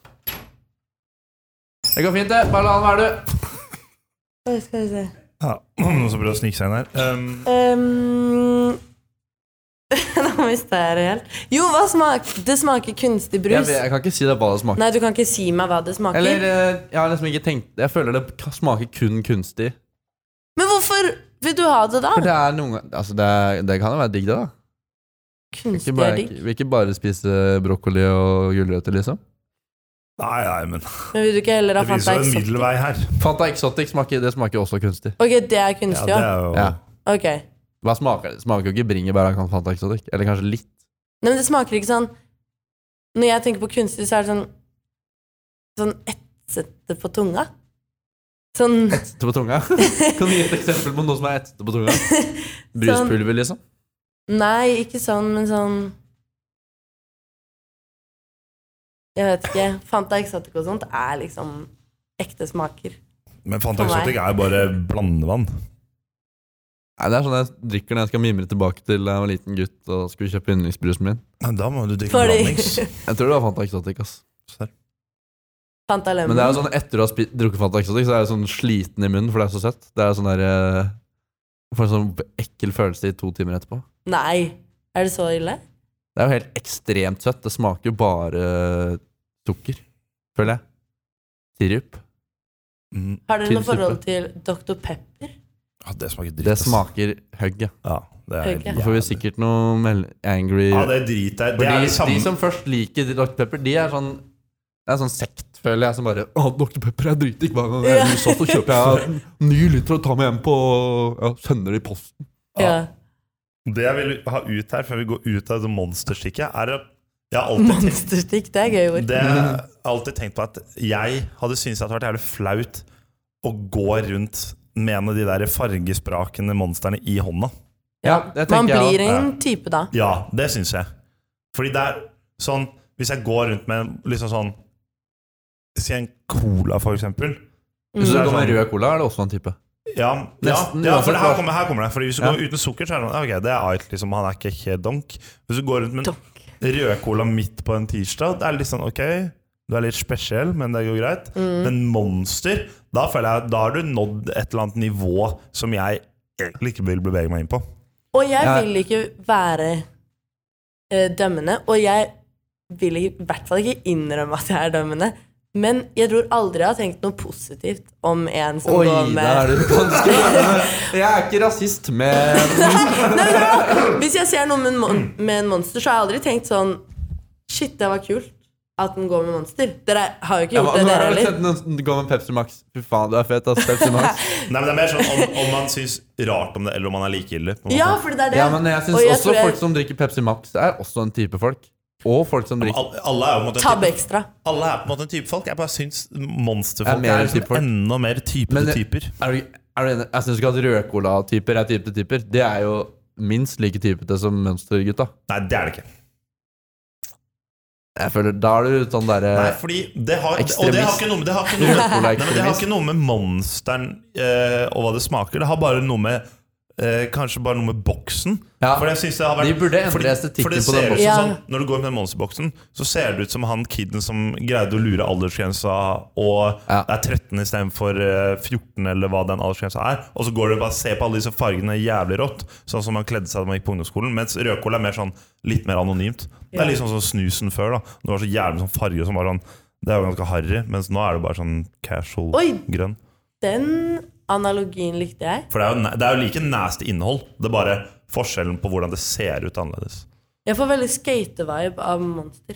Det går fint, det. Bare la den være, du.
Oi, skal vi se.
Ja, Noen som prøver å snike seg inn her. Ehm,
Ehm, Nå mista jeg det helt. Jo, hva smaker Det smaker kunstig
Jeg,
brus.
jeg kan ikke si deg hva det smaker.
Nei, du kan ikke si meg hva det smaker.
Eller eh, jeg har liksom ikke tenkt Jeg føler det k- smaker kun kunstig.
Men hvorfor vil du ha det da?
For det er noen ganger Altså, det, er, det kan jo være digg, det, da.
Kunstig
Ikke
er
bare,
digg.
vil ikke bare spise brokkoli og gulrøtter, liksom.
nei, nei, men
Men vil du ikke heller ha
det finnes
Fanta
jo en
Exotic?
middelvei her.
Fanta Exotic smaker, det smaker også kunstig.
Ok, det er
Ja,
kunstig
det
òg.
er jo
Ja.
Ok.
Hva smaker det? Smaker jo ikke bringebær av Fanta Exotic. Eller kanskje litt.
Nei, men det smaker ikke sånn Når jeg tenker på kunstig, så er det sånn Sånn etsete på tunga. Sånn
Etsete på tunga. Kan du gi et eksempel på noe som er etsete på tunga?
Sånn.
Bruspulver, liksom?
Nei, ikke sånn, men sånn Jeg vet ikke. Fanta Exotic og sånt er liksom ekte smaker.
Men Fanta
For meg.
Exotic er jo bare blandevann.
Nei, det er sånn jeg drikker når jeg skal mimre tilbake til jeg var liten gutt og skulle kjøpe yndlingsbrusen min.
Men da må du drikke
Fordi
blandings.
Jeg tror det var Fanta Exotic, ass.
Serr.
Fanta
Men
Lemon
det er jo sånn etter du har spi- drukket Fanta Exotic, så er du sånn sliten i munnen, for det er så søtt. Det er sånn der eh, Får en sånn ekkel følelse i to timer etterpå.
Nei! Er det så ille?
Det er jo helt ekstremt søtt. Det smaker jo bare eh, sukker, føler jeg. Sirup.
Mm,
Har dere noe
Tilsuppe.
forhold til Dr. Pepper?
ja, det smaker dritt.
Det
ass.
smaker hugg, ja.
Ja, det er
Ikke.
Da får vi sikkert noe mel- angry
Ja, det driter jeg i.
For
Det er
de,
det samme
de som først liker Dr. Pepper, de er sånn det er sånn sekt, føler jeg, som bare Å, Dr. Pepper er dritdigg. Hver gang jeg
Ja.
er rusa, så kjøper jeg en ny liter og tar med hjem på ja, Sender det i posten.
Ja.
Det jeg vil ha ut her før vi går ut av det monsterstikket, er at jeg har alltid,
Monsterstikk, det er gøy ord.
det, jeg har alltid tenkt på at jeg hadde syntes det hadde vært jævlig flaut å gå rundt med en av de der fargesprakende monstrene i hånda.
Ja, det
Man
tenker
blir
jeg
en type da.
Ja, det syns jeg. Fordi det er sånn Hvis jeg går rundt med liksom sånn Si en cola, for eksempel.
òg. Hvis du
Det er
går med
sånn-
rød cola, er Mm. det også en type.
Ja,
Nesten
ja, ja for
uansett
det her,
hva-
kommer, her kommer det. Fordi Hvis du
Ja.
går uten sukker, så er det sånn Ok, det er Ait, liksom. Han er ikke helt donk. Hvis du går rundt med en
Donk.
rød cola midt på en tirsdag, det er litt sånn ok, du er litt spesiell, men det går greit.
Mm.
Men monster, da føler jeg Da har du nådd et eller annet nivå som jeg egentlig ikke vil bevege meg inn på.
Og jeg
Ja.
vil ikke være eh, dømmende, og jeg vil ikke- i hvert fall ikke innrømme at jeg er dømmende. Men jeg tror aldri jeg har tenkt noe positivt om en som
Oi,
går
da er
med
du ganske Jeg er ikke rasist, men
Hvis jeg ser noe med en, mon med en monster, så har jeg aldri tenkt sånn Shit, det var kult at den går med monster. Dere har jo ikke
ja,
gjort
men,
det,
Nå har
dere
jeg
heller.
sett noen gå med Pepsi Max. Fy faen, du er fet, ass. Pepsi Max.
Nei, men Det er mer sånn om, om man syns rart om det, eller om man er likegyldig. på en måte.
Ja, for det er det.
Ja, men jeg
Og
syns også
tror jeg-
folk som drikker Pepsi Max, er også en type folk. Og folk som drikker
Al- Alle er jo på en måte en
Tabbe
type,
ekstra.
alle er på en måte en type folk. Jeg bare syns
Er
monsterfolk
mer
er,
type
liksom
folk.
enda mer
Men
typete
det-
typer.
Er du, er du enig? Jeg syns ikke at rødcola-typer er typete typer. Det er jo minst like typete som mønstergutta.
Nei, det er det ikke.
Jeg føler, Da er du sånn derre
Nei, fordi det har, og det har
ekstremist.
ikke noe med Det har ikke noe med,
Rødcola
nei,
er
men det har
ekstremist.
ikke noe med monsteren eh, og hva det smaker. Det har bare noe med eh, Kanskje bare noe med boksen.
Ja.
For jeg synes det har vært
De burde endre
fordi-
estetikken
for det
på den
ser ut
boksen.
som
Ja.
Sånn, når du går med den monsterboksen, så ser det ut som han kiden som greide å lure aldersgrensa og
Ja.
er 13 istedenfor 14, eh, eller hva den aldersgrensa er. Og så går du og bare ser på alle disse fargene jævlig rått, sånn som han kledde seg da man gikk på ungdomsskolen. Mens rødkål er mer sånn litt mer anonymt. Det
Ja.
er liksom sånn snusen før, da. Det var så jævlig sånn farge som var sånn Det er jo ganske harry, mens nå er det bare sånn casual
Oi.
grønn.
Den analogien likte jeg.
For det er, jo, na- det er jo like nasty innhold. Det er bare forskjellen på hvordan det ser ut annerledes.
Jeg får veldig skate-vibe av monster.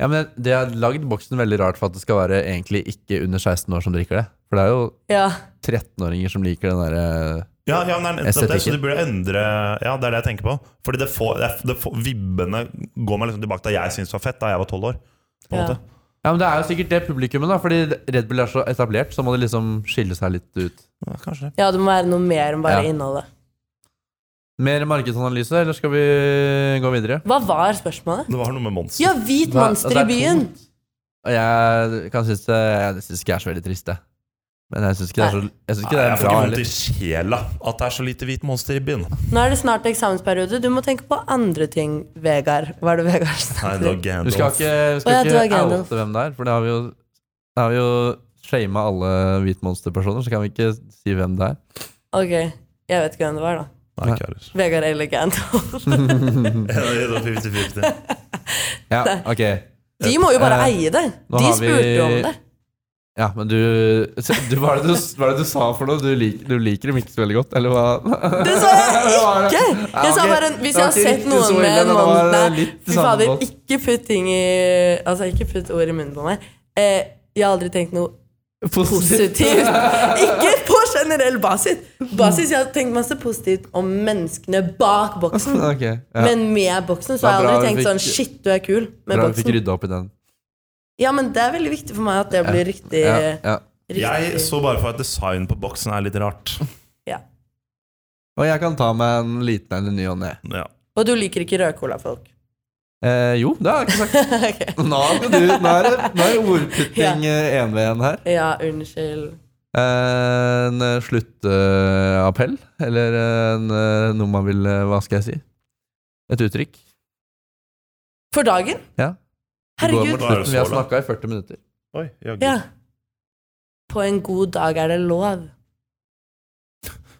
Ja, men De har lagd boksen veldig rart for at det skal være egentlig ikke under 16 år som drikker det. For det er jo
Ja.
13-åringer som liker den derre
Ja, ja men det er nettopp det, så
Estetikken.
du burde endre Ja, det er det jeg tenker på. Fordi det får, det, det får, vibbene går meg liksom tilbake til da jeg syntes det var fett da jeg var tolv år. På en
Ja.
måte.
Ja, men Det er jo sikkert det publikummet, da. Fordi Red Bull er så etablert, så må det liksom skille seg litt ut.
Ja, kanskje det.
Ja, det må være noe mer enn bare
Ja.
innholdet.
Mer markedsanalyse, eller skal vi gå videre?
Hva var spørsmålet?
Det var noe med Monster.
Ja, hvit
Hva-
monster
det
i
er
byen!
tungt. Og jeg kan synes det Jeg synes ikke det er så veldig trist, det. Men jeg synes ikke det er så Jeg synes ikke
Nei,
det
jeg
er
får
bra
ikke vondt
heller.
i sjela at det er så lite hvit monster i byen.
Nå er det snart eksamensperiode. Du må tenke på andre ting, Vegard. Hva er det Vegard
Nei,
snakker
det
om?
var Gandalf.
Du skal ikke, du
Å, ja,
skal
du er
ikke
Gandalf.
oute hvem det er, for det har vi jo Da har vi jo shama alle hvitmonsterpersoner, så kan vi ikke si hvem det er.
Ok, jeg vet ikke hvem det var, da.
Nei, ikke heller.
Vegard eller Gandalf.
Ja, det var 50-50.
Ja, ok.
De må jo bare
Eh,
eie det!
nå
De
har vi-
spurte jo om det.
Ja, men du, du Hva er det du, hva er det du sa for noe? Du liker, du liker dem ikke så veldig godt, eller hva?
Det sa jeg
Det var det.
ikke!
Ja,
Jeg sa
ok.
bare Hvis
Det
jeg
var
har
ikke
sett
riktig så
noen
ille,
med en
men det var
mann Nei,
litt
fy
samme
fader,
båt.
ikke putt ting i Altså, ikke putt ord i munnen på meg. Eh, jeg har aldri tenkt noe positivt. Ikke på generell basis. Basis, Jeg har tenkt masse positivt om menneskene bak boksen.
Ok, ja.
Men med boksen så
Det er
har jeg
bra
aldri
vi
tenkt
fikk-
sånn Shit, du er kul med
Bra vi fikk
boksen.
rydda opp i den.
Ja, men det er veldig viktig for meg at det blir riktig.
Ja, ja.
Jeg
riktig.
så bare for at design på boksen er litt rart.
Ja.
Og jeg kan ta meg en liten en i ny og ne.
Ja.
Og du liker ikke rød cola, folk.
Eh, jo, det har jeg ikke sagt.
Ok.
Nå er det, nå er det, nå er det ordputting eh, en ved en her.
Ja, unnskyld.
Eh, En sluttappell, eller en, eh, noe man vil eh, Hva skal jeg si? Et uttrykk.
For dagen?
Ja. Det går
Herregud.
mot
Da er det
slutten. Vi har
så langt.
snakka i 40 minutter.
Oi, jaggu.
Ja. På en god dag er det lov.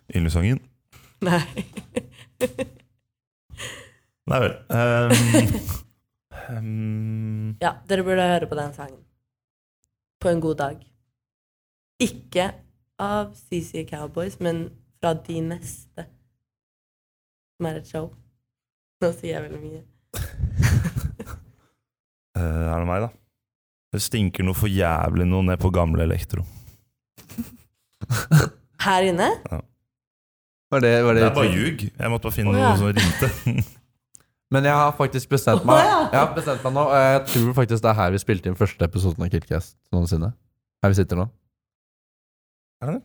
Ylvesangen.
Nei.
Nei vel.
Mm.
ehm, ehm,
Ja, dere burde høre på den sangen. På en god dag. Ikke av CC Cowboys, men fra De neste. Som er et show. Nå sier jeg veldig mye.
eh, er det meg, da? Det stinker noe for jævlig noe ned på gamle elektro.
Her inne?
Var det, var
Det
det,
er bare ljug. Jeg måtte bare finne
Å, ja.
noe som rimte.
Men jeg har faktisk bestemt
Å,
meg
ja.
Jeg har bestemt meg nå, og jeg tror faktisk det er her vi spilte inn første episoden av Killcast noensinne. Her vi sitter nå.
Er det det?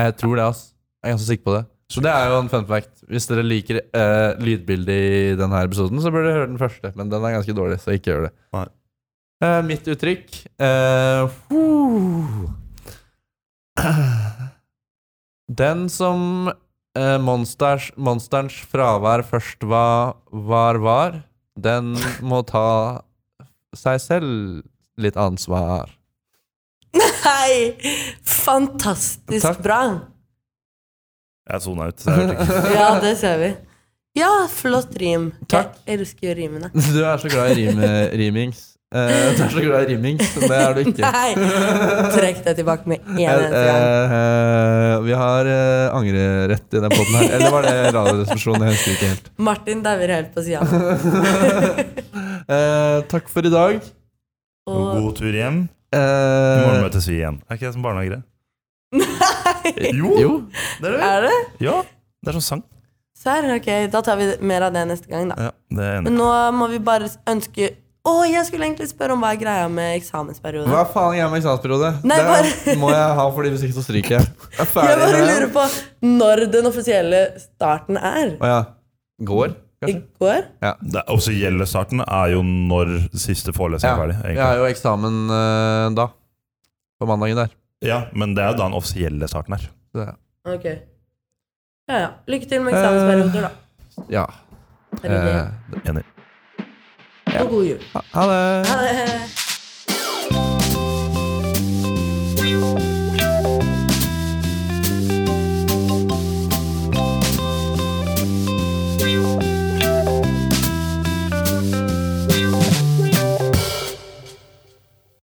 Jeg tror det, ass. Jeg er ganske sikker på det. Så det er jo en fun fact. Hvis dere liker eh, lydbildet i denne episoden, så burde dere høre den første, men den er ganske dårlig, så ikke gjør det.
Nei.
Eh, mitt uttrykk eh, huh. Den som eh, monsters, monsterens fravær først var, var, var, den må ta seg selv litt ansvar.
Nei! Fantastisk
Takk.
bra.
Jeg sona ut. Så jeg hørte ikke.
Ja, det ser vi. Ja, flott rim.
Takk.
Jeg elsker jo rimene.
Du er så glad i rim, rimings. Eh, du er så glad i rimings, men det er du ikke.
Nei! Trekk det tilbake med en
Eh,
eneste gang.
eh, vi har eh, angrerett i den poden her. Eller var det Radioresepsjonen? Jeg husker ikke helt.
Martin dauer helt på sida.
Eh, takk for i dag.
Og
God tur hjem. I
Eh,
morgen møtes vi igjen. Er ikke det som barnehagere? Jo!
jo.
Det er det.
er det?
Ja, det er sånn sang.
Serr? Ok, da tar vi mer av det neste gang, da.
Ja, det er enig.
Men nå må vi bare ønske Å, jeg skulle egentlig spørre om hva er greia med eksamensperiode.
Hva faen er jeg med eksamensperiode?
Nei,
det
bare-
må jeg ha, fordi hvis ikke så stryker jeg. Jeg er
Jeg
ferdig
bare
med
lurer
det.
på når den offisielle starten er.
Å ja. Går,
I
kanskje?
går?
Det offisielle starten er jo når siste forelesning
Ja.
er ferdig.
Jeg
egentlig.
har jo eksamen eh, da. På mandagen der.
Ja, men det er jo da den offisielle starten er.
Så, ja.
Ok. Ja ja. Lykke til med eksamensperioder, da.
ja.
Herregud.
Eh,
Enig.
Og god jul.
ha- ha det.
Ha det.